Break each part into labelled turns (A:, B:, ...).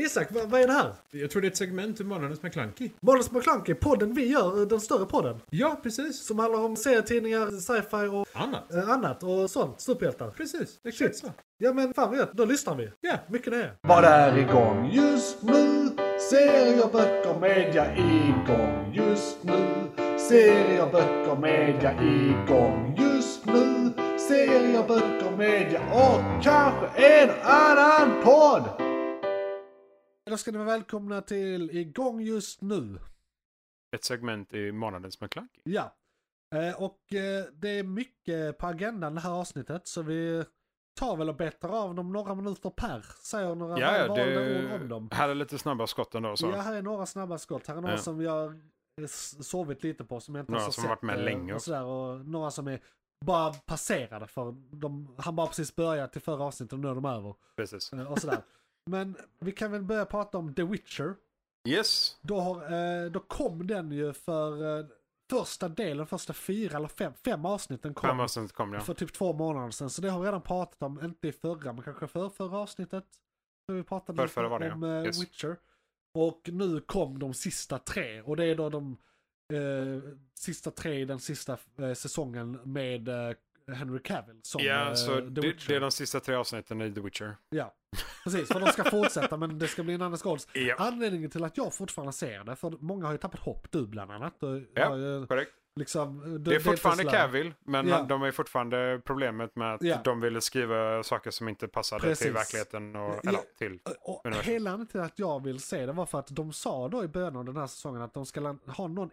A: Isak, vad, vad är det här?
B: Jag tror det är ett segment ur Månadens McKlunky.
A: Måns McClunky, podden vi gör, den större podden.
B: Ja, precis.
A: Som handlar om serietidningar, sci-fi och
B: Annat.
A: eh, annat och sånt. Superhjältar.
B: Precis, exakt
A: Shit.
B: så.
A: Ja men fan vad gött, då lyssnar vi.
B: Ja.
A: Mycket det.
C: Vad är igång just nu? Serier, böcker, media igång just nu. Serier, böcker, media igång just nu. Serier, böcker, media och kanske en annan podd.
A: Då ska ni vara välkomna till Igång just nu.
B: Ett segment i Månadens McKlunky.
A: Ja. Eh, Och eh, det är mycket på agendan det här avsnittet så vi tar väl och betar av dem några minuter per. Säger några
B: Ja, ja,
A: välvalda ord om dem.
B: det... Här är lite snabba skott ändå så.
A: Ja, här är några snabba skott. Här är några
B: Ja.
A: som jag eh, s- sovit lite på som jag inte
B: Några
A: ens har
B: som har
A: sett,
B: varit med
A: eh,
B: länge
A: och,
B: också.
A: sådär, och Några som är bara passerade för de, han bara precis börjat till förra avsnittet och nu är de över.
B: Precis.
A: eh, Och sådär. Men vi kan väl börja prata om The Witcher.
B: Yes.
A: Då, har, eh, då kom den ju för eh, första delen, första fyra eller fem, fem avsnitten kom.
B: Fem avsnitt kom det. ja.
A: För typ två månader sedan. Så det har vi redan pratat om, inte i förra men kanske för förra avsnittet. Då vi pratade lite
B: Förrförra var det,
A: om
B: ja.
A: eh,
B: Yes.
A: Witcher. Och nu kom de sista tre. Och det är då de eh, sista tre i den sista eh, säsongen med eh, Henry Cavill som eh,
B: Ja, så
A: The
B: det,
A: Witcher.
B: det är de sista tre avsnitten i The Witcher.
A: Ja, precis. För de ska fortsätta men det ska bli en annan skåls.
B: Ja.
A: Anledningen till att jag fortfarande ser det, för många har ju tappat hopp, du bland annat. Du,
B: Ja,
A: har ju
B: Korrekt.
A: liksom, du,
B: Det är fortfarande Cavill, men
A: Ja.
B: de är fortfarande problemet med att
A: Ja.
B: de ville skriva saker som inte passade till
A: Precis.
B: verkligheten. Och,
A: Ja.
B: Eller till.
A: Och
B: Universum.
A: hela anledningen till att jag vill se det var för att de sa då i början av den här säsongen att de ska lan- ha någon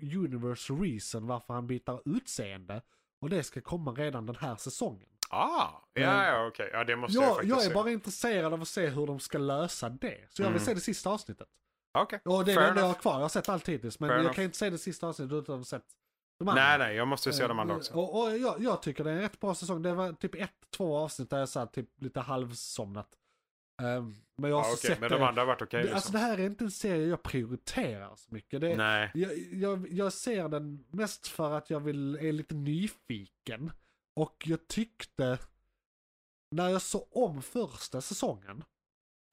A: in-universe reason varför han byter utseende. Och det ska komma redan den här säsongen.
B: Ah, ja, ja, okej. Ja, det måste jag,
A: Jag,
B: faktiskt
A: jag
B: se.
A: är bara intresserad av att se hur de ska lösa det. Så jag vill
B: Mm.
A: se det sista avsnittet.
B: Okej,
A: Och det är
B: fair
A: det enda jag har
B: enough.
A: kvar, jag har sett allt hittills. Men
B: Fair
A: jag
B: enough.
A: kan inte se det sista avsnittet utan att ha sett de andra.
B: Nej, nej, jag måste ju se de andra
A: Eh,
B: också.
A: Och, och jag, jag tycker det är en rätt bra säsong. Det var typ ett, två avsnitt där jag satt typ lite halvsomnat. Eh, Men jag har
B: Ja,
A: också
B: okej,
A: sett
B: men
A: det.
B: de andra har varit okej.
A: det, alltså
B: liksom.
A: det här är inte en serie jag prioriterar så mycket. Det,
B: Nej,
A: jag, jag, jag ser den mest för att jag vill, är lite nyfiken. Och jag tyckte, när jag såg om första säsongen,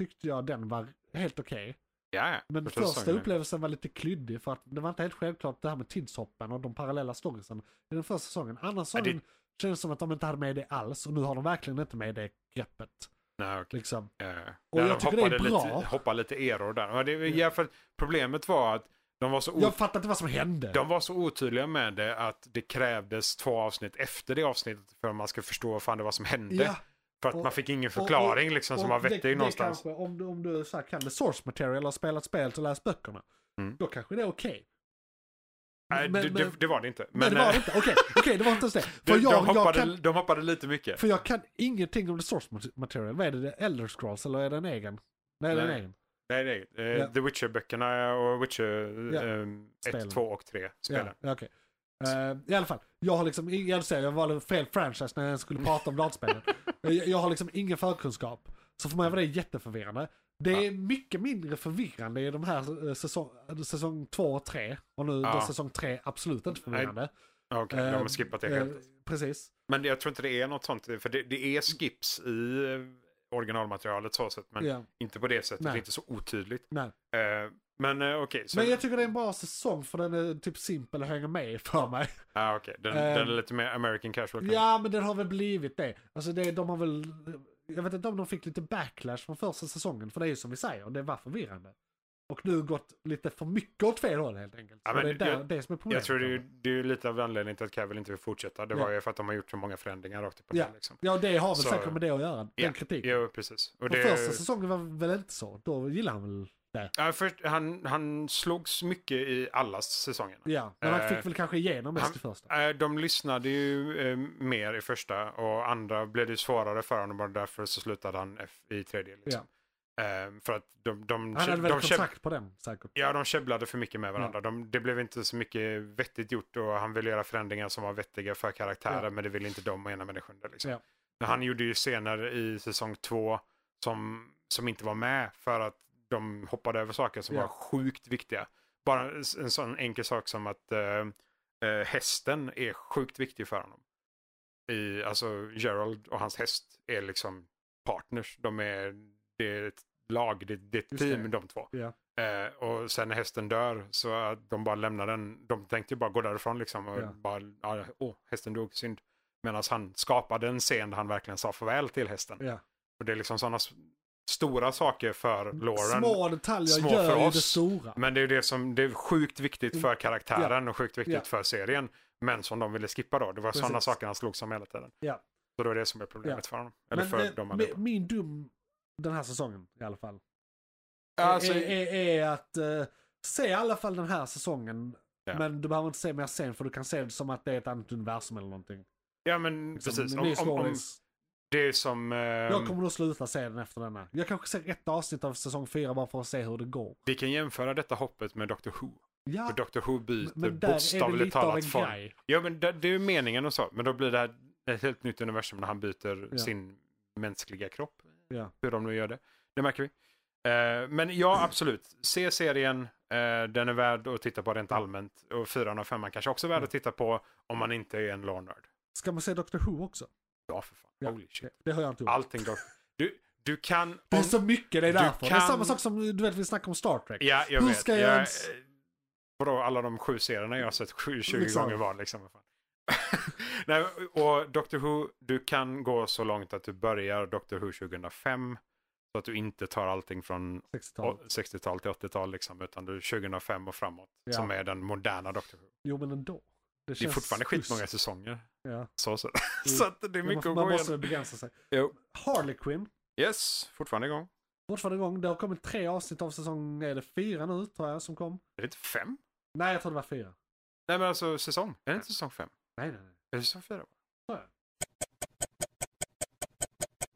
A: tyckte jag den var helt okej.
B: ja, ja.
A: Men första
B: säsongen.
A: upplevelsen var lite klyddig för att det var inte helt självklart det här med tidshoppen och de parallella storiesen i den första säsongen. Andra
B: Ja, det-
A: säsongen kändes som att de inte hade med det alls och nu har de verkligen inte med det greppet.
B: Nej, okej.
A: Liksom.
B: Ja.
A: Och
B: Ja,
A: jag
B: de
A: tycker det är
B: hoppade
A: bra.
B: Lite, hoppade lite eror där. Ja, det, ja, för problemet var att de var så
A: Jag fattar inte vad som hände.
B: De var så otydliga med det att det krävdes två avsnitt efter det avsnittet för att man ska förstå vad fan det var som hände.
A: Ja.
B: för att
A: och-
B: man fick ingen förklaring liksom som var
A: Och det-
B: vettig
A: det
B: någonstans.
A: Kanske, om, du- om du så här, kan det source material eller har spelat spelet och läst böckerna.
B: Mm.
A: Då kanske det är okej.
B: Nej,
A: men-
B: det,
A: men-
B: det, det var det inte.
A: Men, det var det inte. Okej, okej, det var inte ens det. För,
B: eh, de,
A: jag, jag
B: hoppade,
A: kan,
B: de hoppade lite mycket.
A: för jag kan ingenting om det source material. Vad är det? det? är Elder scrolls eller är det en egen? Nej, det är en
B: Nej.
A: egen.
B: Nej, nej. Eh,
A: Ja.
B: The Witcher-böckerna eh, och Witcher
A: Ja.
B: 1,
A: Spelen.
B: 2 och 3 spelen.
A: Ja, ja, okej. Eh, I alla fall, jag har liksom, ing- jag, säger, jag valde fel franchise när jag skulle prata om dataspelen. jag, jag har liksom ingen förkunskap. Så för mig var det jätteförvirrande. Det är mycket mindre förvirrande i de här eh, säsong, säsong två och tre. Och nu
B: Ja.
A: då säsong tre absolut inte förvirrande.
B: Okej, de har
A: Eh,
B: skippat det
A: eh,
B: helt.
A: Precis.
B: Men jag tror inte det är något sånt, för det, det är skips i eh, originalmaterialet så sett, men
A: Ja,
B: inte på det sättet,
A: Nej.
B: det är inte så otydligt.
A: nej.
B: Eh, men eh, okej, så...
A: Men jag tycker det är en bra säsong för den är typ simpel och hänger med för mig.
B: ah, okej, den,
A: Eh,
B: den är lite mer American casual. kanske.
A: Ja, men den har väl blivit det. Alltså det, de har väl... Jag vet inte om de fick lite backlash från första säsongen, för det är ju som vi säger, det var förvirrande. Och nu gått lite för mycket åt fel håll helt enkelt.
B: Ja,
A: Och
B: men
A: det är där,
B: jag-
A: det som är problemet.
B: Jag tror det är, ju- det är ju lite av anledningen till att Cavill inte vill fortsätta. Det
A: Ja.
B: var ju för att de har gjort så många förändringar rakt upp och
A: Ja.
B: ner. Liksom.
A: Ja, det har väl
B: Så-
A: säkert med det att göra, den
B: Ja,
A: kritiken.
B: Jo, precis. Och
A: För
B: det,
A: första säsongen var väl inte så, då gillade han väl det.
B: ja, först, han, han slogs mycket i alla säsongerna.
A: Ja, men han
B: Eh,
A: fick väl kanske igenom mest
B: han-
A: i första.
B: Eh, De lyssnade ju eh, mer i första och andra blev det ju svårare för honom och därför så slutade han F i tredje. Liksom. Eh, För att de, de,
A: Han hade väl
B: de, käbb-
A: kontrakt på den säkert.
B: ja, de käbblade för mycket med varandra. De, det blev inte så mycket vettigt gjort och han ville göra förändringar som var vettiga för karaktärer
A: Ja.
B: men det ville inte de och ena människan. Liksom.
A: Ja.
B: Men Han gjorde ju scener i säsong två som, som inte var med för att de hoppade över saker som
A: Ja.
B: var sjukt viktiga. Bara en s- en sån enkel sak som att eh, eh, hästen är sjukt viktig för honom. I, alltså Gerald och hans häst är liksom partners. De är, det är ett lag, ditt, ditt
A: Just
B: team,
A: det.
B: de två.
A: Ja.
B: Eh, och sen när hästen dör så att de bara lämnar den. De tänkte ju bara gå därifrån liksom. Och
A: Ja.
B: bara, ja, åh, hästen dog, synd. Medan han skapade en scen där han verkligen sa farväl till hästen.
A: Ja. Mm.
B: Och det är liksom sådana s- stora saker för Lauren.
A: Små detaljer
B: små
A: gör
B: för
A: ju det
B: oss,
A: stora.
B: Men det är ju det som det är sjukt viktigt för karaktären och sjukt viktigt
A: Mm. Ja.
B: för serien. Men som de ville skippa då. Det var sådana
A: Precis.
B: saker han slog som hela tiden.
A: Ja.
B: Så då är det som är problemet för honom. Eller
A: Men
B: för
A: det-
B: dem
A: mi-
B: allihopa.
A: Min dum den här säsongen i alla fall.
B: Alltså,
A: Eh, är, är, är att eh, se i alla fall den här säsongen.
B: Ja.
A: Men du behöver inte se mer sen för du kan se det som att det är ett annat universum eller någonting.
B: ja men precis.
A: Som
B: Om,
A: Miss
B: om, om
A: Lawrence.
B: det är som... ehm,
A: jag kommer nog sluta se den efter denna. Jag kanske ser ett avsnitt av säsong fyra bara för att se hur det går.
B: Vi kan jämföra detta hoppet med Doctor Who.
A: Ja,
B: För Doctor Who byter
A: Ah. men där är det
B: bokstavligt
A: lite av en
B: talat form.
A: grej.
B: Ja, men det, det är ju meningen och så. Men då blir det här ett helt nytt universum när han byter
A: Ja.
B: sin mänskliga kropp.
A: Ja.
B: Hur de nu gör det. Det märker vi. Eh, men ja, absolut. Se serien. eh, den är värd att titta på rent allmänt. Och fyran och femman kanske också är värd att titta på om man inte är en lore-nörd.
A: Ska man se Doctor Who också?
B: Ja, för fan.
A: Ja,
B: Holy shit.
A: det, det har jag inte gjort.
B: Allting då. Du, du kan...
A: Det är
B: om-
A: så mycket, det är
B: Du
A: därför. Det är
B: kan-
A: samma sak som du vet, vi snackade om Star Trek.
B: Ja, jag
A: Hur
B: vet.
A: ska jag
B: jag
A: ens-
B: eh, Vadå, alla de sju serierna jag har sett sju, 20
A: Liksom.
B: gånger var liksom. vad fan. Nej, och Doctor Who, du kan gå så långt att du börjar Doctor Who 2005. Så att du inte tar allting från
A: 60-talet.
B: å- 60-tal till 80-tal liksom, utan du 2005 och framåt.
A: Ja.
B: Som är den moderna Doctor Who.
A: Jo, men ändå.
B: Det är
A: känns
B: fortfarande skitmånga
A: schysst.
B: säsonger.
A: Ja.
B: Så, så. så att det är mycket
A: Man, man
B: att gå
A: måste
B: igenom.
A: begränsa sig.
B: Jo.
A: Harley Quinn.
B: Yes, fortfarande igång.
A: Fortfarande igång. Det har kommit tre avsnitt av säsong, är det fyra nu tror jag som kom?
B: Är det inte fem?
A: Nej, jag tror det var fyra.
B: Nej men alltså säsong. Är det inte säsong fem?
A: Nej, nej, nej.
B: Är det säsong fyra?
A: Tror jag.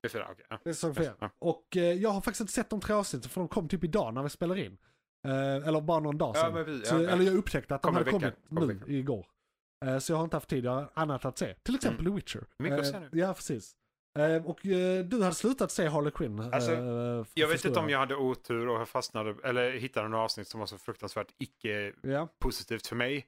B: Det är fyra, okej. ja.
A: Det är säsong fyra.
B: Ja.
A: Och eh, jag har faktiskt inte sett de tre avsnitten för de kom typ idag när vi spelar in. Eh, eller bara någon dag
B: Ja,
A: sedan.
B: men vi- ja,
A: så,
B: ja.
A: Eller jag upptäckte att de
B: Kommer
A: hade
B: veckan.
A: kommit
B: Kommer
A: nu
B: veckan.
A: igår. Eh, så jag har inte haft tid, jag har annat att se. Till exempel The Witcher.
B: Mm. Mycket att
A: Eh,
B: se nu.
A: Ja, precis. Eh, och eh, du hade slutat se Harley Quinn. eh,
B: Alltså,
A: f-
B: Jag vet
A: förstår
B: inte om jag hade otur och fastnade, eller hittade några avsnitt som var så fruktansvärt icke
A: Ja.
B: positivt för mig.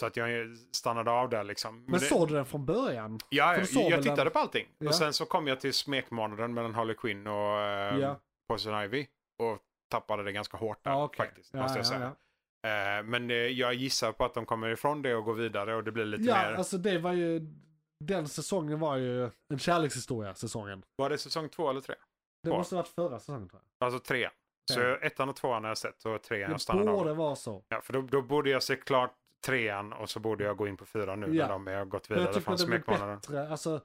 B: Så att jag stannade av där liksom.
A: Men
B: det-
A: såg du den från början?
B: Ja,
A: för du
B: jag,
A: såg väl
B: jag
A: den-
B: tittade på allting.
A: Ja.
B: Och sen så kom jag till smekmånaden mellan Harley Quinn och eh,
A: Ja.
B: Poison Ivy. Och tappade det ganska hårt där
A: okej.
B: faktiskt, måste jag
A: ja,
B: säga.
A: ja.
B: Eh, men eh, jag gissar på att de kommer ifrån det och går vidare och det blir lite
A: Ja,
B: mer.
A: alltså det var ju... Den säsongen var ju en kärlekshistoria, säsongen.
B: Var det säsong två eller tre?
A: Det
B: Ja.
A: måste ha varit förra säsongen tror jag.
B: Alltså tre. Så
A: Tre.
B: jag- ettan och tvåan har jag sett och trean jag
A: Det
B: stannade av.
A: borde vara så.
B: Ja, för då, då borde jag se klart trean och så borde jag gå in på fyran nu
A: Ja.
B: när de har gått
A: Men jag
B: vidare
A: tycker
B: från
A: att det blev
B: smekmånaden.
A: bättre, alltså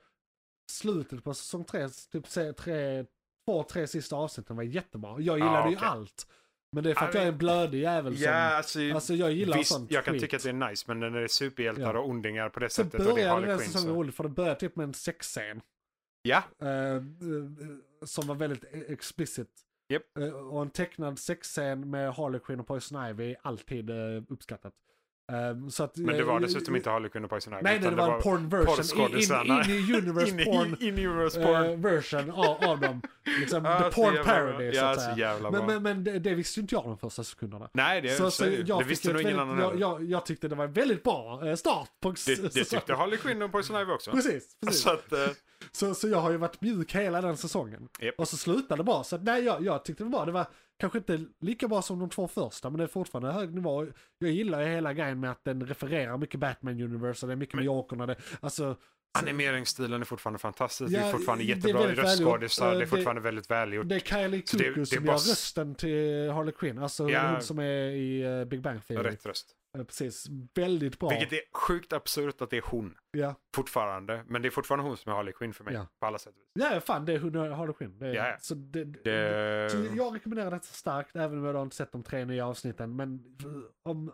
A: slutet på säsong tre, typ se- tre, två, tre sista avsnitten var jättebra. Jag gillade ju
B: okej.
A: allt. Men det är för
B: Ja,
A: att jag är en blödig jävel som...
B: alltså,
A: Alltså jag gillar sånt
B: jag kan
A: skit.
B: tycka att det är nice, men när det är superhjältar
A: Ja.
B: och ondingar på det
A: Så
B: sättet och det är
A: började
B: Harley
A: den
B: Quinn.
A: säsongen
B: Så.
A: roligt för det började typ med en sexscen.
B: Ja,
A: eh, eh, som var väldigt e- explicit.
B: Japp.
A: Eh, och en tecknad sexscen med Harley Quinn och Poison Ivy, alltid eh, uppskattat. Eh, så att,
B: men det var
A: eh,
B: dessutom inte Harley Quinn och Poison Ivy.
A: Nej, nej,
B: utan
A: det var en porn version. In,
B: porrskådisarna.
A: in, in i universe
B: in i-
A: porn,
B: in i universe porn.
A: eh, version av, av dem. Liksom,
B: Ah,
A: the
B: så
A: porn
B: jävla
A: parody
B: bra.
A: så
B: Ja,
A: att
B: så
A: säga.
B: jävla
A: men,
B: bra.
A: men, men det, det visste ju inte jag de första sekunderna.
B: Nej, det,
A: så,
B: så,
A: så
B: är det.
A: jag
B: det
A: fick
B: visste
A: ett
B: nog ingen
A: väldigt-
B: annan
A: jag,
B: heller.
A: jag, jag tyckte det var en väldigt bra eh, start på
B: Det, det tyckte Harley Quinn och Poison Ivy också.
A: Precis, precis.
B: Så att, eh,
A: Så, så jag har ju varit mjuk hela den säsongen.
B: Japp.
A: Och så slutade det bra. Så att, nej, jag, jag tyckte det var, det var kanske inte lika bra som de två första, men det är fortfarande hög nivå. Jag gillar ju hela grejen med att den refererar mycket Batman Universe, och det är mycket New det, alltså,
B: animeringsstilen är fortfarande fantastisk. det
A: Ja,
B: är fortfarande
A: det är
B: jättebra
A: väldigt välgjort.
B: röstskådisar. Det är
A: Eh,
B: fortfarande väldigt välgjort.
A: det är Kylie
B: Så det-
A: Cuoco
B: det är
A: som
B: bara
A: gör
B: s-
A: rösten till Harley Quinn, alltså
B: Ja.
A: hon som är i eh, Big Bang Theory.
B: Rätt röst.
A: Eh, Precis, väldigt bra.
B: Vilket är sjukt absurt att det är hon.
A: ja.
B: fortfarande. Men det är fortfarande hon som är Harley Quinn för mig.
A: Ja.
B: På alla sätt och vis.
A: ja, fan det är hon och Harley Quinn. Det, är-
B: Ja, ja.
A: Så det, det,
B: Det...
A: Så jag rekommenderar detta starkt, även om jag då inte sett de tre nya avsnitten. Men om,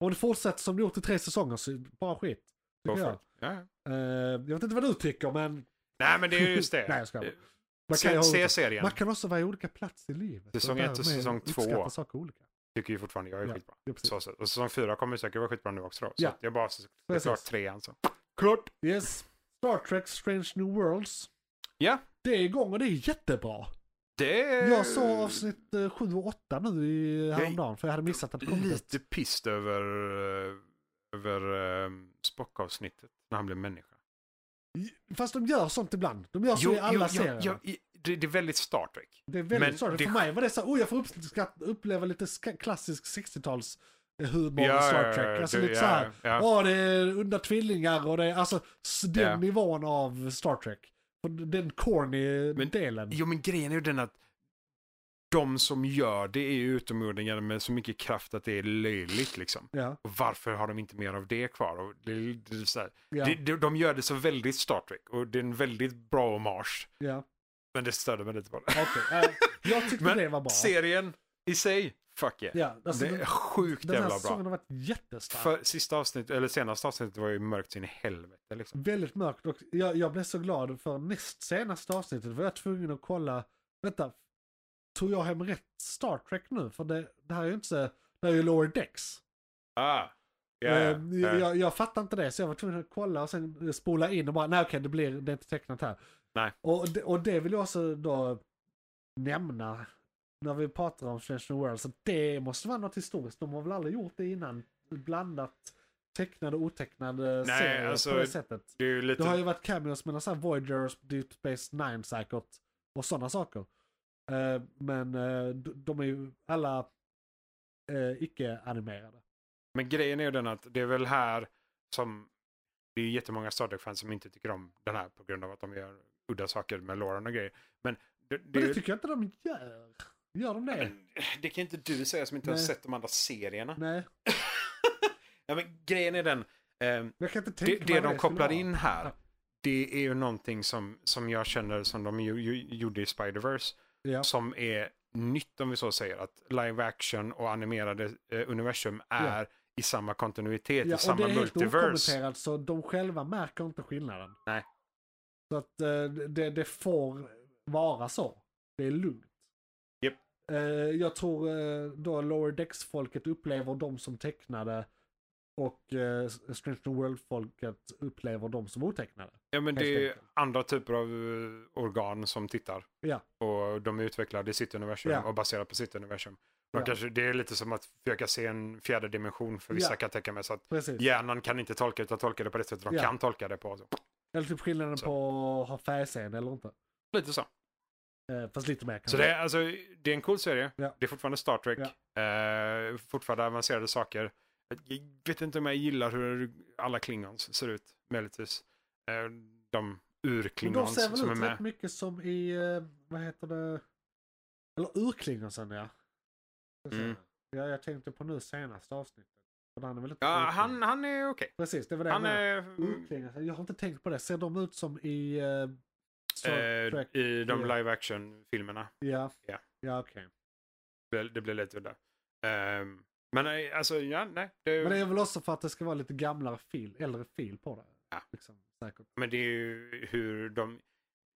A: om det fortsätter som det gjort i tre säsonger så är det bara skit.
B: Go
A: Tycker
B: for
A: jag.
B: it. Ja.
A: Eh, jag vet inte vad du tycker, men
B: Nej, men det är just det.
A: Nej, jag skojar bara. man kan, ju
B: se,
A: ha
B: se
A: olika,
B: serien.
A: man kan också vara i olika plats i livet.
B: Säsong ett och
A: därmed
B: säsong två.
A: uppskatta saker olika.
B: Tycker ju fortfarande jag är
A: Ja,
B: skitbra.
A: ja, precis.
B: Så, så. Och säsong fyra kommer säkert vara skitbra nu också. Då. Så
A: Ja.
B: att jag bara... så- Det är
A: Precis.
B: klart trean så. Klart!
A: Yes. Star Trek Strange New Worlds.
B: Ja,
A: Det är igång och det är jättebra.
B: det är...
A: Jag såg avsnitt 7 och 8 nu i, häromdagen för jag hade missat att det kom
B: Lite pist över, eh, över um, Spock-avsnittet. När han blev människa.
A: Fast de gör sånt ibland. De gör så Alltså, i alla serier.
B: jo, i- det, det är väldigt Star Trek.
A: Det är väldigt
B: Men
A: sorgligt.
B: det-
A: För mig var det så här, oh jag får uppskatt, uppleva lite ska, klassisk 60-tals humor
B: Ja,
A: i
B: ja,
A: Star
B: ja,
A: Trek. Alltså
B: du-
A: lite
B: ja,
A: så här,
B: ja.
A: åh det är onda tvillingar och det är, alltså s- den
B: Ja.
A: nivån av Star Trek. Och Den corny
B: Men-
A: delen.
B: Jo, men grejen är ju den att de som gör det är ju utomjordingar med så mycket kraft att det är löjligt liksom.
A: Ja,
B: Och varför har de inte mer av det kvar? Och det, det, är så här,
A: ja,
B: det, det, de gör det så väldigt Star Trek och det är en väldigt bra hommage.
A: ja.
B: Men det störde mig lite på det.
A: Okej. eh, jag tyckte
B: Men
A: det var bra.
B: Serien i sig, fuck yeah.
A: ja, alltså,
B: det är
A: den,
B: sjukt
A: den här
B: jävla
A: säsongen
B: bra.
A: har varit jättestark.
B: För sista avsnittet, eller senaste avsnittet var ju mörkt in i helvete liksom.
A: Väldigt mörkt och jag, jag blev så glad för näst senaste avsnittet var jag tvungen att kolla, vänta, tog jag hem rätt Star Trek nu? För det, det här är ju inte, så- det här är ju Lower Decks.
B: Ah, ja, ja,
A: Eh,
B: ja.
A: Jag, jag fattar inte det, så jag var tvungen att kolla och sen spola in och bara, nej okej, det, blir, det är inte tecknat här.
B: Nej.
A: Och, det- och det vill jag också då nämna, när vi pratar om Strange New World, så det måste vara något historiskt. De har väl aldrig gjort det innan, blandat tecknade och otecknade
B: Nej,
A: serier
B: alltså,
A: på det sättet.
B: Det är ju lite...
A: Det har ju varit cameos mellan såhär Voyager och Deep Space Nine säkert. Och sådana saker. Eh, men eh, d- de är ju alla eh, icke-animerade.
B: Men grejen är ju den att det är väl här som det är ju jättemånga Star Trek-fans som inte tycker om den här på grund av att de gör udda saker med Lauren och grejer. Men det, det,
A: Men
B: är
A: det
B: ju-
A: tycker jag inte de gör. Gör de det?
B: men det kan inte du säga som inte har
A: Nej.
B: sett de andra serierna.
A: Nej,
B: Ja, men grejen är den, ehm,
A: jag kan inte
B: det,
A: tänka
B: det
A: mig
B: de
A: skulle
B: kopplar
A: vara.
B: in här,
A: Ja.
B: det är ju någonting som, som jag känner som de ju, ju, gjorde i Spider-Verse,
A: Ja.
B: som är nytt om vi så säger, att live action och animerade eh, universum är i samma kontinuitet,
A: Ja,
B: i samma
A: och det är helt
B: multiverse.
A: okommenterat så de själva märker inte skillnaden.
B: Nej.
A: Så att eh, det, det får vara så. Det är lugnt.
B: Japp.
A: Eh, jag tror eh, då Lower Decks-folket upplever de som tecknade och eh, Strange New World-folket upplever de som otecknade.
B: Ja, men
A: Helt
B: det är
A: enkelt.
B: andra typer av eh, organ som tittar.
A: Ja.
B: Och de är utvecklade i sitt universum
A: Ja.
B: och baserat på sitt universum. De
A: Ja.
B: kanske, det är lite som att försöka se en fjärde dimension för vissa
A: Ja.
B: kan jag tänka mig. Så att
A: Precis.
B: hjärnan kan inte tolka utan tolkar det på det sättet de
A: Ja.
B: kan tolka det på. Så.
A: Eller typ skillnaden
B: Så.
A: på att ha färgscen eller inte.
B: Lite så.
A: Eh, fast lite mer kanske.
B: Så det är, alltså, det är en cool serie.
A: Ja.
B: Det är fortfarande Star Trek. Eh, fortfarande avancerade saker. Jag vet inte om jag gillar hur alla klingons ser ut, möjligtvis. Eh, de
A: Men de
B: ur-klingons
A: ser väl
B: som är
A: ut rätt
B: med.
A: mycket som i, eh, vad heter det, eller urklingonsen ja. Ska se.
B: Mm.
A: Ja, jag tänkte på nu senaste avsnittet. För han är väl inte
B: Ja,
A: urklingon.
B: han, han är okej.
A: Precis, det var det
B: Han
A: jag menade.
B: är... Mm.
A: Urklingonsen, jag har inte tänkt på det. Ser de ut som i eh, Star Trek?
B: Eh, I de
A: Ja.
B: live action-filmerna.
A: ja,
B: ja.
A: ja okej.
B: Det- Det blir lite udda. Ehm, men eh, alltså, ja, nej. Det,
A: Men det är väl också för att det ska vara lite gamlare fil, äldre fil på det.
B: Ja.
A: Liksom, säkert.
B: men det är ju hur de...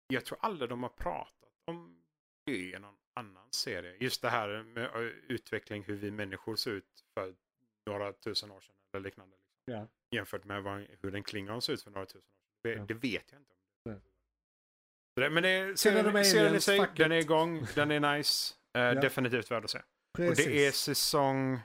B: Jag tror aldrig de har pratat om det i någon annan serie. Just det här med eh, utveckling, hur vi människor ser ut för några tusen år sedan eller liknande. liksom.
A: Ja.
B: Jämfört med vad, hur en klingon ser ut för några tusen år sedan. Det,
A: Ja.
B: det vet jag inte. om.
A: Nej.
B: Så det- Men det,
A: Sen är de
B: serien, serien i
A: aliens,
B: sig,
A: fuck
B: den
A: it.
B: är igång, den är nice. Eh,
A: Ja.
B: Definitivt värd att se. Och
A: Precis.
B: det är säsong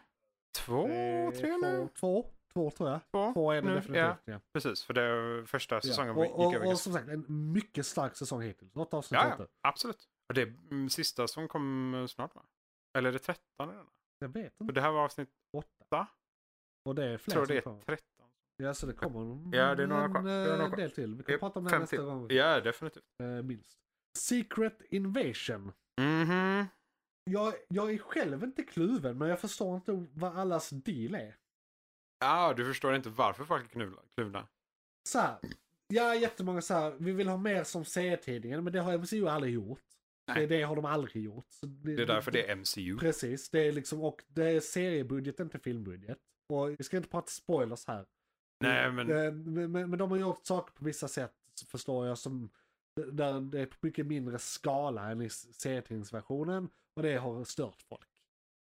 B: två,
A: Eh,
B: tre nu?
A: två, två, två tror jag.
B: Två,
A: Två är det
B: nu.
A: definitivt.
B: Ja,
A: Ja.
B: precis. För det första Alltså, säsongen
A: Ja.
B: var-
A: Och,
B: gick
A: och,
B: över
A: och
B: ganska
A: som sagt, en mycket stark säsong hittills. Åtta avsnitt
B: Ja,
A: ute.
B: ja, absolut. Och det är mm, sista som kom eh, snart va? Eller är det 13 redan?
A: Jag vet
B: För
A: inte.
B: det här var avsnitt,
A: Åtta. Och det är fler
B: jag tror
A: som
B: det är
A: kommer.
B: 13.
A: Ja, så det kommer
B: Ja, det är några
A: en,
B: kvar. Det är
A: eh,
B: några kvar.
A: del till. Vi kan
B: Japp,
A: prata om det här
B: Fem
A: nästa
B: till.
A: gång,
B: Ja, definitivt.
A: eh, minst. Secret Invasion.
B: Mhm.
A: Jag, jag är själv inte kluven, men jag förstår inte vad allas deal är.
B: Ja, du förstår inte varför folk är knuvla- kluvna.
A: Så här, ja, jättemånga så här, vi vill ha mer som serietidningen, men det har MCU aldrig gjort.
B: Nej.
A: Det, det har de aldrig gjort. Så det,
B: Det är därför det är MCU.
A: Precis, det är liksom, och det är seriebudget, inte filmbudget. Och vi ska inte prata spoilers här.
B: Nej, men
A: Eh, Men, men, men de har gjort saker på vissa sätt, förstår jag, som där det är på mycket mindre skala än i serietidningsversionen. Och det har stört folk.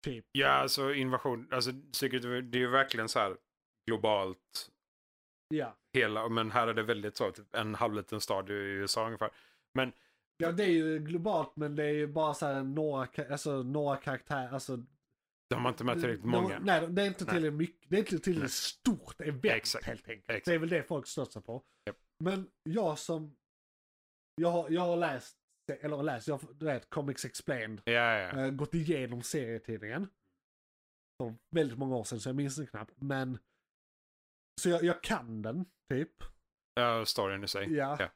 A: Typ.
B: ja, alltså invasion, alltså Secret Invasion, det är ju verkligen så här globalt
A: Ja.
B: hela, men här är det väldigt så, typ en halvliten stad i USA ungefär. Men
A: ja, det är ju globalt men det är ju bara så här några, ka- alltså, några karaktärer. Alltså,
B: de har inte med tillräckligt
A: Mm, de-
B: många.
A: Nej, det är inte
B: Nej.
A: tillräckligt mycket. Det är inte
B: Nej.
A: tillräckligt stort event
B: Exakt.
A: helt enkelt.
B: Exakt.
A: Det är väl det folk stötsar på.
B: Japp.
A: Men jag som... Jag har, jag har läst se- eller läst, jag, du vet, Comics Explained,
B: Ja, ja.
A: eh, gått igenom serietidningen. För väldigt många år sedan så jag minns den knappt. Men, så jag, jag kan den, typ.
B: ja storyn i sig.
A: Ja.
B: Ja.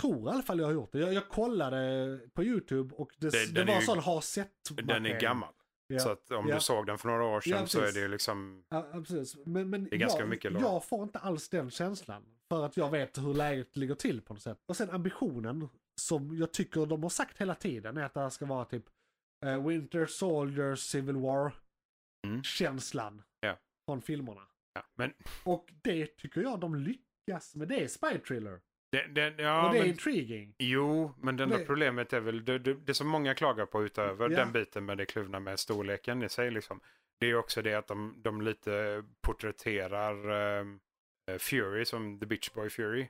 A: Tror i alla fall jag har gjort det. Jag, jag kollade på YouTube och det,
B: Det-
A: det,
B: den är
A: var
B: ju-
A: sån har sett
B: Den är gammal.
A: Ja.
B: Så att om
A: Ja.
B: du såg den för några år sedan
A: Ja,
B: så är
A: precis.
B: det ju liksom...
A: Ja, ja, precis. Men, men
B: Det är ganska
A: jag,
B: mycket lore.
A: jag får inte alls den känslan. För att jag vet hur läget ligger till på något sätt. Och sen ambitionen som jag tycker de har sagt hela tiden är att det här ska vara typ eh, Winter Soldier Civil
B: Mm.
A: War-känslan
B: Ja.
A: från filmerna.
B: Ja. Men
A: Och det tycker jag de lyckas med. Det är spy thriller.
B: den, den, ja,
A: och det är
B: men,
A: intriguing.
B: Jo, men det enda
A: Nej.
B: problemet är väl det, det, det som många klagar på utöver
A: Ja.
B: den biten med det kluvna med storleken i sig. Liksom, det är också det att de, de lite porträtterar ehm, eh, Fury som The Bitch Boy Fury.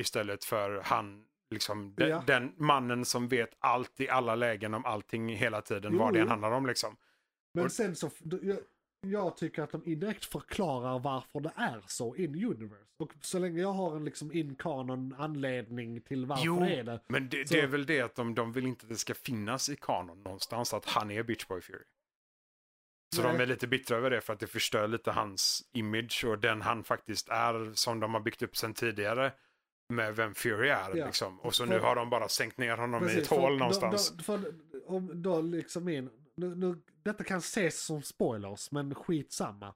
B: Istället för han, liksom, de,
A: Ja.
B: den mannen som vet allt i alla lägen om allting hela tiden,
A: Jo,
B: vad det än
A: jo.
B: handlar om. Liksom.
A: Men
B: Och-
A: sen så, jag, jag tycker att de indirekt förklarar varför det är så in universe. Och så länge jag har en liksom in canon anledning till varför
B: Jo,
A: det är det.
B: men det,
A: Så-
B: det är väl det att de, de vill inte att det ska finnas i kanon någonstans att han är Bitch Boy Fury. Så
A: Nej.
B: de är lite bittra över det för att det förstör lite hans image och den han faktiskt är som de har byggt upp sedan tidigare med vem Fury är.
A: Ja.
B: Liksom. Och så
A: För-
B: nu har de bara sänkt ner honom i ett
A: för
B: hål
A: då-
B: någonstans.
A: Då, för, om då liksom in, nu, nu, detta kan ses som spoilers, men skitsamma.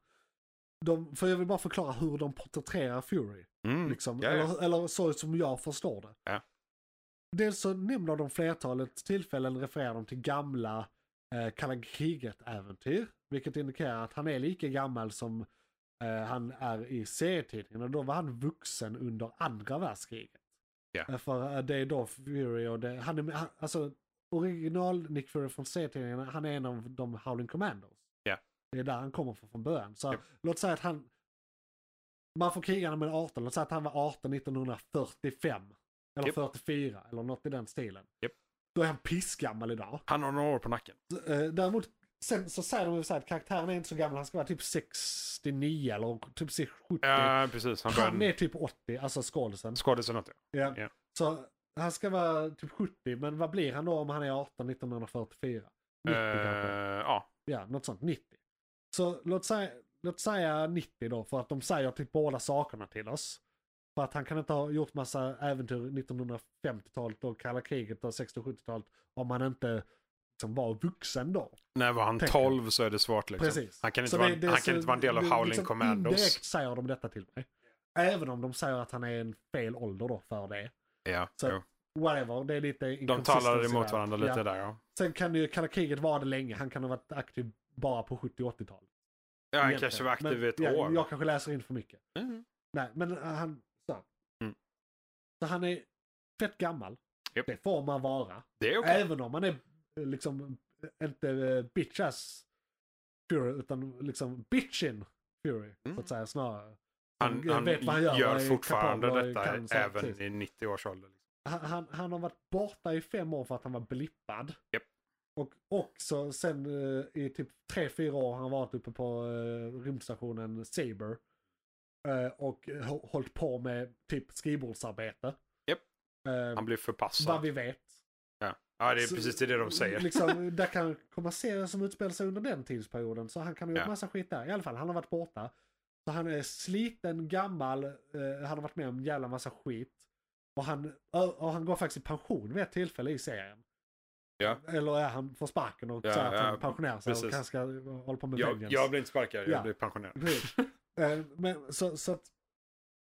A: De, för jag vill bara förklara hur de porträtterar Fury.
B: mm.
A: Liksom,
B: ja, ja.
A: Eller, eller så som jag förstår det.
B: Ja.
A: Dels så nämner de flertalet tillfällen refererar de till gamla eh, kalla kriget-äventyr. Vilket indikerar att han är lika gammal som eh, han är i serietidningen. Och då var han vuxen under andra världskriget.
B: Ja.
A: Eh, För eh, det är då Fury och det, han är, med- han, alltså original Nick Fury från serietidningen, han är en av de Howling Commandos.
B: Ja.
A: Det är där han kommer från från början. Så
B: Ja.
A: låt säga att han, man får kriga när man är 18. Låt säga att han var 18 1945. Eller
B: Japp.
A: 44 eller något i den stilen.
B: Japp.
A: Då är han pissgammal idag.
B: Han har några år på nacken.
A: Så, eh, Däremot sen så säger de ju så här att karaktären är inte så gammal. Han ska vara typ 69 eller typ 70.
B: Ja, precis. Han,
A: han
B: började
A: är typ 80, alltså skådisen.
B: skådisen något.
A: Ja.
B: Ja.
A: Så han ska vara typ 70, men vad blir han då om han är 18 1944? 90
B: Eh,
A: kanske?
B: Ja,
A: Ja, något sånt. 90. Så låt säga, låt säga 90 då, för att de säger typ båda sakerna till oss. För att han kan inte ha gjort massa äventyr 1950-talet och kalla kriget och 60-70-talet om han inte liksom var vuxen då.
B: när var han
A: Tänker.
B: 12 så är det svårt. Liksom.
A: Precis.
B: Han, kan inte,
A: Så
B: vara,
A: det- det-
B: han kan
A: så
B: inte vara en del av
A: det-
B: Howling
A: liksom
B: Commandos.
A: Indirekt säger de detta till mig. Även om de säger att han är en fel ålder då för det.
B: Ja,
A: Så-
B: jo.
A: Whatever, det är lite
B: De
A: inconsistency
B: talar emot
A: där.
B: varandra lite
A: Ja.
B: där. Ja,
A: Sen kan ju kalla kriget vara det länge. Han kan ha varit aktiv bara på 70 och 80-talet.
B: ja han
A: Egentligen.
B: kanske var aktiv
A: Men-
B: i ett
A: ja,
B: år.
A: Jag kanske läser in för mycket.
B: Mm.
A: Nej, men eh, han... Så,
B: Mm.
A: så han är fett gammal.
B: Japp.
A: Det får man vara.
B: Det är okej.
A: Även om man är eh, liksom eh, inte eh, bitch-ass Fury, utan liksom bitchin Fury,
B: Mm.
A: så att säga snarare.
B: Han, han gör,
A: vad är
B: fortfarande
A: kapabel och
B: detta
A: kan, så här,
B: även
A: precis.
B: i 90 års ålder. Liksom.
A: han, han, han har varit borta i fem år för att han var blippad.
B: Japp.
A: Och också sen eh, i typ tre fyra år har han varit uppe på eh, rymdstationen Saber. eh, och hå- hållit på med typ skrivbordsarbete.
B: Japp.
A: Eh,
B: Han blir förpassad.
A: vad vi vet.
B: Ja. ja, det är
A: Så-
B: precis det de säger.
A: Liksom, där kan komma serier som utspelar sig under den tidsperioden. Så han kan ha gjort
B: Ja.
A: massa skit där. I alla fall, han har varit borta. Så han är sliten, gammal, eh, han har varit med om en jävla massa skit. Och han, och han går faktiskt i pension vid ett tillfälle i serien.
B: Ja.
A: Eller är han får sparken och
B: Ja,
A: så att han
B: ja,
A: pensionerar sig och
B: precis.
A: kanske ska hålla på med
B: Jag,
A: vengeance.
B: jag blir inte sparkad, jag
A: Ja.
B: blir pensionerad.
A: Precis. Eh, Men, så, så att,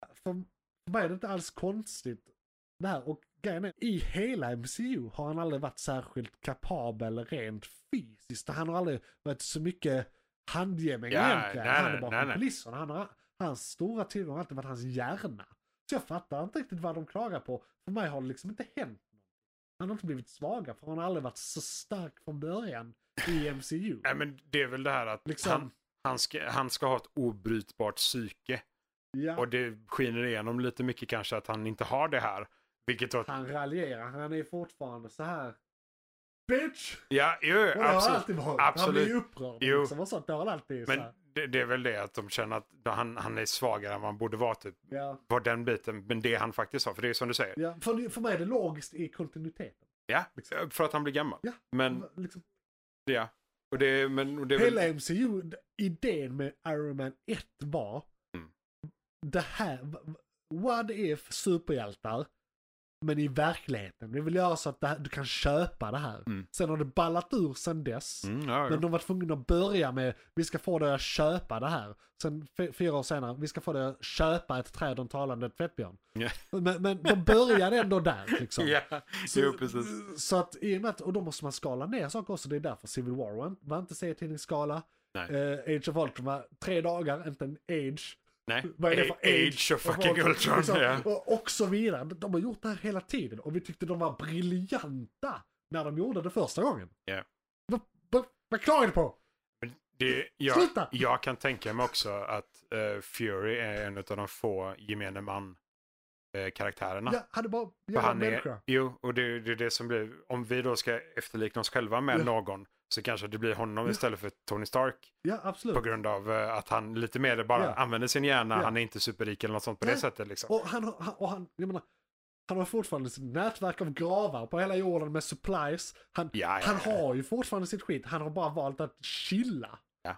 A: för, för mig är det inte alls konstigt det här. Och grejen är, i hela MCU har han aldrig varit särskilt kapabel rent fysiskt. Han har aldrig varit så mycket handgemäng
B: Ja,
A: egentligen.
B: nej,
A: han är
B: nej,
A: bakom
B: nej, nej.
A: kulisserna. Han har, hans stora tillgång har alltid varit hans hjärna. Så jag fattar inte riktigt vad de klagar på. För mig har det liksom inte hänt något. Han har inte blivit svaga för han har aldrig varit så stark från början i MCU.
B: Nej, men det är väl det här att
A: Liksom.
B: han, han, ska, han ska ha ett obrytbart psyke.
A: ja.
B: Och det skiner igenom lite mycket kanske att han inte har det här. Vilket då,
A: Han raljerar, han är fortfarande så här bitch!
B: Ja, jo,
A: Och det har
B: absolut.
A: alltid varit. Han
B: Absolut.
A: blir ju upprörd
B: Jo.
A: liksom och sånt. Det har väl alltid så
B: Men
A: här.
B: det, det är väl det att de känner att han, han är svagare än man borde vara. Typ.
A: Ja.
B: Var den biten, men det han faktiskt har. För det är som du säger.
A: Ja. För, för mig är det logiskt i kontinuiteten.
B: Ja, liksom, för att han blir gammal.
A: Ja.
B: Men,
A: Liksom,
B: ja. Och det, men, och det är väl-
A: Hela MCU, d- idén med Iron Man 1 var
B: Mm.
A: det här, v- v- what if superhjältar, men i verkligheten. Vi vill göra så att det här, du kan köpa det här.
B: Mm.
A: Sen har det ballat ur sen dess.
B: Mm, ja,
A: Men
B: ja.
A: de var tvungna att börja med, vi ska få dig att köpa det här. Sen f- fyra år senare, vi ska få dig att köpa ett träd och en talande tvättbjörn.
B: Ja.
A: Men, men de började ändå där liksom.
B: ja, jo, precis.
A: Så att i och med att, och då måste man skala ner saker också, det är därför Civil War var, var inte serietidningsskala.
B: Nej.
A: Eh, Age of Ultron var tre dagar, inte en age.
B: Nej.
A: Vad är det för
B: A-
A: age?
B: Age of fucking Ultron.
A: Liksom,
B: Ja.
A: och, och så vidare. De har gjort det här hela tiden och vi tyckte de var briljanta när de gjorde det första gången.
B: Ja.
A: Vad- vad- Vad klagar du på?
B: Men Det, jag,
A: Sluta!
B: jag kan tänka mig också att eh, Fury är en av de få gemene man-karaktärerna.
A: Jag hade bara, jag
B: För
A: var
B: han
A: människa.
B: är, jo, och det, det är det som blir, om vi då ska efterlikna oss själva med
A: Ja.
B: någon så kanske det blir honom
A: Ja.
B: istället för Tony Stark.
A: Ja, absolut.
B: På grund av eh, att han lite mer bara
A: Ja.
B: använder sin hjärna,
A: Ja.
B: han är inte superrik eller något sånt på
A: Nej.
B: det sättet liksom.
A: Och han, har- han, och han, jag menar, han har fortfarande sitt nätverk av gravar på hela jorden med supplies. Han,
B: Ja, ja,
A: han
B: ja.
A: har ju fortfarande sitt skit, han har bara valt att chilla.
B: Ja.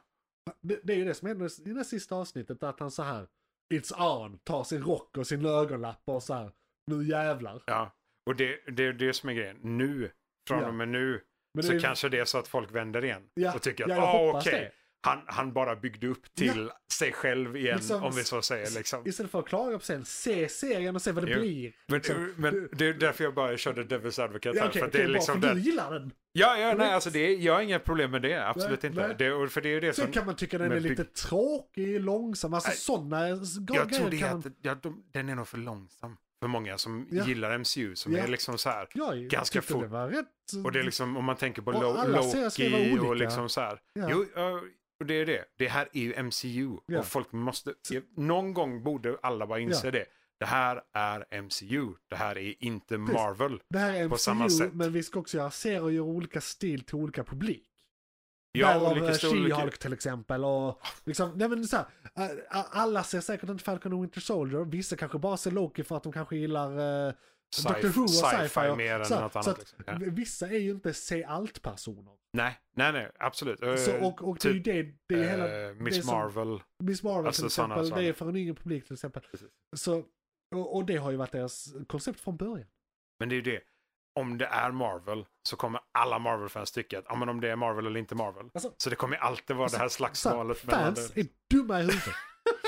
A: Det, det är ju det som händer i det sista avsnittet, att han så här, it's on, tar sin rock och sin ögonlapp och så här, nu jävlar.
B: Ja, och det, det är det som är grejen. Nu, från
A: Ja.
B: och med nu,
A: Men
B: så
A: det är-
B: kanske det är så att folk vänder igen
A: Ja,
B: och tycker att
A: ja, jag
B: ah,
A: hoppas
B: okej,
A: det."
B: han, han bara byggde upp till sig själv igen
A: Liksom,
B: om vi så säger. Liksom.
A: Istället för att klaga på sen, se serien och se vad det
B: Jo.
A: blir.
B: Men,
A: liksom.
B: men det är därför jag bara körde Devil's Advocate
A: Ja,
B: här.
A: okej,
B: för att
A: okej,
B: det är
A: bra, för
B: liksom
A: du
B: den,
A: gillar den.
B: Ja, ja, nej, alltså det, jag har inga problem med det. Absolut
A: Nej,
B: inte.
A: nej.
B: Det, och för det är ju det
A: Sen
B: som...
A: kan man tycka den är
B: men bygg-
A: lite tråkig, långsam, alltså
B: Nej,
A: sådana
B: Jag tror
A: grejer
B: det är
A: kan
B: att
A: man...
B: ja, de, den är nog för långsam för många som
A: Ja.
B: gillar MCU. Som
A: Ja.
B: är liksom så här.
A: Jag
B: ganska
A: tyckte det
B: fort.
A: var rätt...
B: Och det är liksom om man tänker på
A: Och
B: Lo-
A: alla serier ska vara
B: Loki
A: olika.
B: och liksom så här.
A: Ja.
B: Jo, ja, och det är det. Det här är ju MCU.
A: Ja.
B: Och folk måste... Någon gång borde alla bara inse
A: Ja.
B: det. Det här är MCU. Det här är inte
A: Precis.
B: Marvel.
A: Det här är
B: på samma
A: MCU,
B: sätt.
A: men vi ska också göra serier och göra olika stil till olika publik.
B: Ja,
A: Därav
B: olika
A: eh,
B: storlekar.
A: She-Hulk till exempel och liksom, nej men så här, eh, alla ser säkert inte Falcon och Winter Soldier, vissa kanske bara ser Loki för att de kanske gillar eh,
B: Sci-
A: Doctor Who och sci-fi.
B: sci-fi
A: och-
B: mer än
A: så här,
B: något
A: så
B: annat,
A: att
B: liksom. Ja.
A: Vissa är ju inte se allt-personer.
B: Nej, nej, nej, absolut. Eh,
A: Så, och och
B: typ,
A: det är ju det, det är ju hela...
B: eh, Miss
A: det som-
B: Marvel.
A: Miss Marvel
B: Alltså,
A: till
B: sådana
A: exempel,
B: saker.
A: det är för en yngre publik till exempel.
B: Precis.
A: Så, och, och det har ju varit deras koncept från början.
B: Men det är ju det. Om det är Marvel så kommer alla Marvel-fans tycka att ah, men om det är Marvel eller inte Marvel.
A: Alltså-
B: så det kommer alltid vara det här
A: Så här,
B: slagsmålet. mellan liksom.
A: fans
B: det.
A: är dumma i huvudet.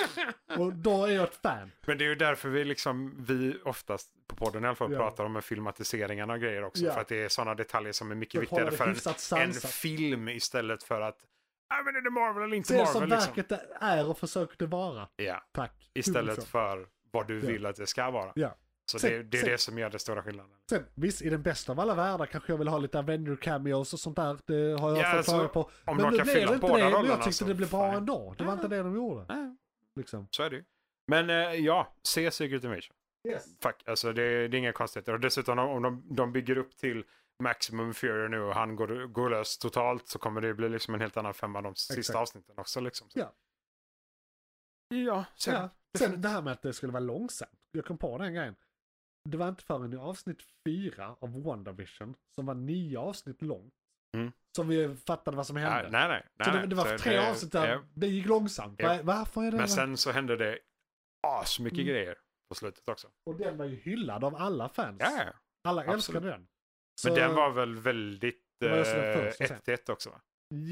A: och då är jag ett fan.
B: Men det är ju därför vi, liksom, vi oftast på podden i alla fall
A: Ja.
B: pratar om filmatiseringarna och grejer också.
A: Ja.
B: För att det är sådana detaljer som är mycket
A: För att hålla
B: viktigare
A: det
B: för
A: hyfsat
B: en, en
A: sansat.
B: film istället för att ah, men är det Marvel eller inte
A: Det är
B: Marvel?
A: som
B: liksom.
A: verket är och försöker det vara.
B: ja.
A: Tack.
B: Istället
A: Liksom.
B: för vad du
A: Ja.
B: vill att det ska vara.
A: Ja.
B: Så
A: Sen-
B: det, det är
A: sen-
B: det som gör den stora skillnaden.
A: Sen, visst, i den bästa av alla världar kanske jag vill ha lite Avenger cameos och sånt där. Det har jag
B: Ja,
A: fått
B: alltså,
A: klaga på.
B: om
A: men
B: de
A: nu blev
B: kan fylla
A: det inte
B: båda
A: det, men jag
B: rollerna,
A: tyckte
B: så
A: det blev bra
B: fine.
A: ändå. Det var inte det de gjorde. Liksom.
B: Så är det ju. Men eh, ja, se Secret Invasion. Fuck, alltså det, det är inga konstigheter. Och dessutom om- om de, de bygger upp till Maximum Fury nu och han går, går lös totalt så kommer det bli liksom en helt annan femma de sista
A: Exakt.
B: avsnitten också. Liksom. Så-
A: Ja.
B: Ja, så
A: Ja. Sen det här med att det skulle vara långsamt. Jag kom på den grejen. Det var inte förrän i avsnitt fyra av WandaVision, som var nio avsnitt långt,
B: Mm.
A: som vi fattade vad som hände.
B: Nej, nej, nej. nej
A: så det, det var
B: nej. Så
A: tre
B: det-
A: avsnitt där
B: ja.
A: det gick långsamt.
B: Ja.
A: Va- Varför är det
B: Men
A: det?
B: sen så hände det asmycket
A: Mm.
B: grejer på slutet också.
A: Och den var ju hyllad av alla fans.
B: Ja, ja.
A: Alla
B: absolut.
A: älskade den. Så-
B: Men den var väl väldigt
A: Det var ju sådär
B: eh,
A: först och sen.
B: 1-1 också va?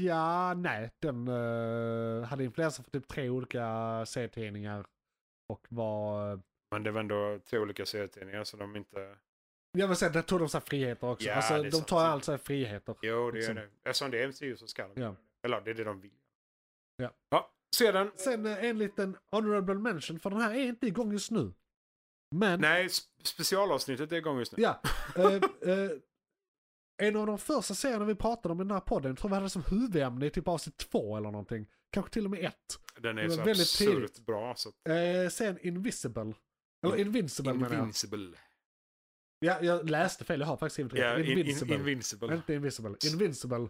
A: Ja, nej. Den eh, hade influenser för typ tre olika serietidningar. Och var...
B: Men det var ändå tre olika serietidningar så de inte...
A: Jag vill säga, där tog de sig friheter också.
B: Ja, det
A: alltså,
B: är
A: de
B: sant.
A: tar alltså friheter.
B: Jo, det gör
A: Liksom.
B: det. Eftersom det är MCU så ska de
A: Ja.
B: göra det. Eller det är det de vill.
A: Ja.
B: ja sedan.
A: Sen eh, en liten honorable mention, för den här är inte igång just nu. Men,
B: Nej, sp- specialavsnittet är igång just nu.
A: ja. Eh, eh, en av de första serierna vi pratade om i den här podden, jag tror vi hade det som huvudämne i typ avsnitt två eller någonting. Kanske till och med ett.
B: Den är
A: Det
B: så
A: var väldigt
B: absurt
A: tidigt.
B: bra. Så att...
A: Eh, sen Invisible. Eller Invincible menar jag.
B: Invincible.
A: Ja, jag läste fel, jag har faktiskt skrivit
B: Ja,
A: rätt.
B: in,
A: Invincible.
B: in, invincible.
A: Inte Invincible. Invincible.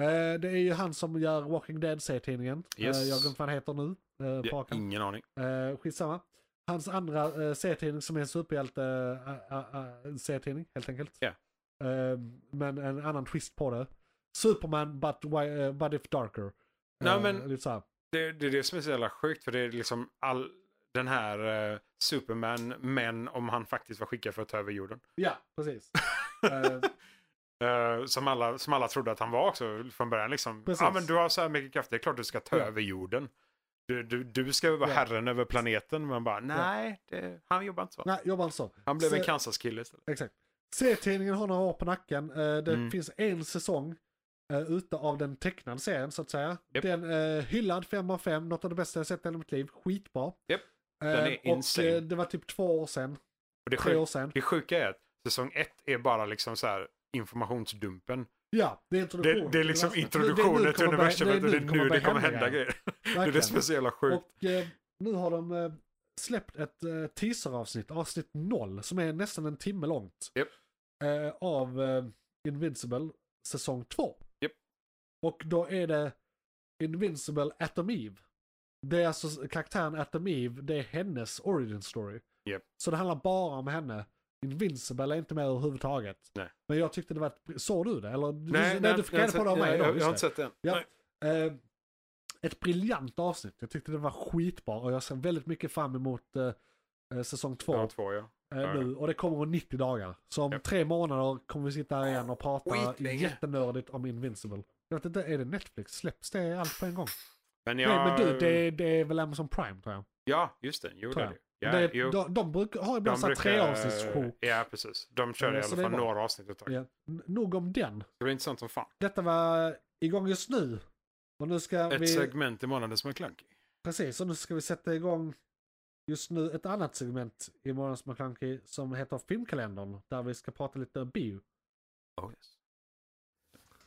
A: Eh, det är ju han som gör Walking Dead-serietidningen.
B: Yes.
A: Eh, jag glömde vad han heter nu. Eh, på
B: Ja,
A: raken.
B: ingen aning.
A: Eh, skitsamma. Hans andra eh, serietidning som är en superhjälte eh, eh, eh, serietidning helt enkelt.
B: Ja.
A: Eh, men en annan twist på det. Superman but, why, eh, but if darker. Eh,
B: Nej, men-
A: lite så här.
B: Det, det är det som är så jävla sjukt för det är liksom all den här eh, Superman, men om han faktiskt var skickad för att ta över jorden.
A: Ja, precis. Eh,
B: Eh, som, alla, som alla trodde att han var också från början. Liksom.
A: Precis.
B: Ja men du har så här mycket kraft, det är klart du ska ta
A: Ja.
B: över jorden. Du, du, du ska vara
A: Ja.
B: herren över planeten. Men bara nej, det, han jobbar inte så.
A: nej, jobbar inte så.
B: Han blev
A: Så-
B: en Kansas-kille istället.
A: Exakt. Serietidningen har några år på nacken. Eh, det
B: Mm.
A: finns en säsong uh, ute av den tecknade serien så att säga.
B: Japp.
A: Den eh, hyllad 5 av 5, något av det bästa jag sett i hela mitt liv. Skitbra.
B: Japp.
A: Eh,
B: Den är
A: och
B: insane.
A: eh, det var typ två år sedan,
B: Och det,
A: tre år
B: sjuka,
A: sedan.
B: det sjuka är att säsong ett är bara liksom så här informationsdumpen.
A: Ja, det är
B: Det,
A: introduktion.
B: det är liksom
A: Det- det är nu
B: introduktionen till
A: kommer börja-
B: universumet och det är nu det kommer
A: börja
B: hända grejer. Det är det
A: Verkligen.
B: som är så jävla sjukt.
A: Och eh, nu har de eh, släppt ett eh, teaseravsnitt, avsnitt 0, som är nästan en timme långt.
B: Japp.
A: Eh, av eh, Invincible säsong 2.
B: Japp.
A: Och då är det Invincible Atom Eve. Det är alltså karaktären Atom Eve, det är hennes origin story.
B: Japp.
A: Så det handlar bara om henne. Invincible är inte med överhuvudtaget.
B: Nej.
A: Men jag tyckte det var ett... Såg du det? Eller, du, nej, du fick reda på det av mig
B: jag,
A: då,
B: jag,
A: just
B: jag har
A: det.
B: inte sett den.
A: Ja.
B: Nej.
A: Eh, ett briljant avsnitt. Jag tyckte det var skitbra och jag ser väldigt mycket fram emot eh, eh, säsong två
B: Ja, två ja.
A: eh, nu. Och det kommer om 90 dagar. Så om
B: Ja.
A: tre månader kommer vi sitta här igen och prata
B: Skitlänge.
A: jättenördigt om Invincible. Jag vet inte, är det Netflix? Släpps det allt på en gång?
B: Men
A: Nej
B: jag,
A: men du, det, det är väl Amazon Prime tror jag.
B: Ja, just det. Jo, det
A: Tror
B: är
A: jag.
B: det. Ja,
A: det,
B: jo.
A: de, de brukar ha ibland såhär treavsnittssjok.
B: Ja, precis. De kör
A: Eh,
B: i
A: så
B: alla
A: det är
B: fall
A: bra.
B: några avsnitt ett tag.
A: Ja. N- Nog om den.
B: Det blir intressant som fan.
A: Detta var igång just nu. Och nu ska
B: Ett
A: vi...
B: segment i månaden som är klunky.
A: Precis, och nu ska vi sätta igång just nu ett annat segment i Morgons McClunky som heter Filmkalendern. Där vi ska prata lite om bio.
B: Oh, yes.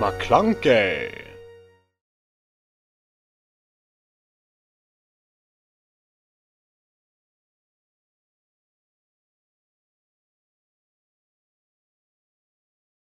C: McClunkey!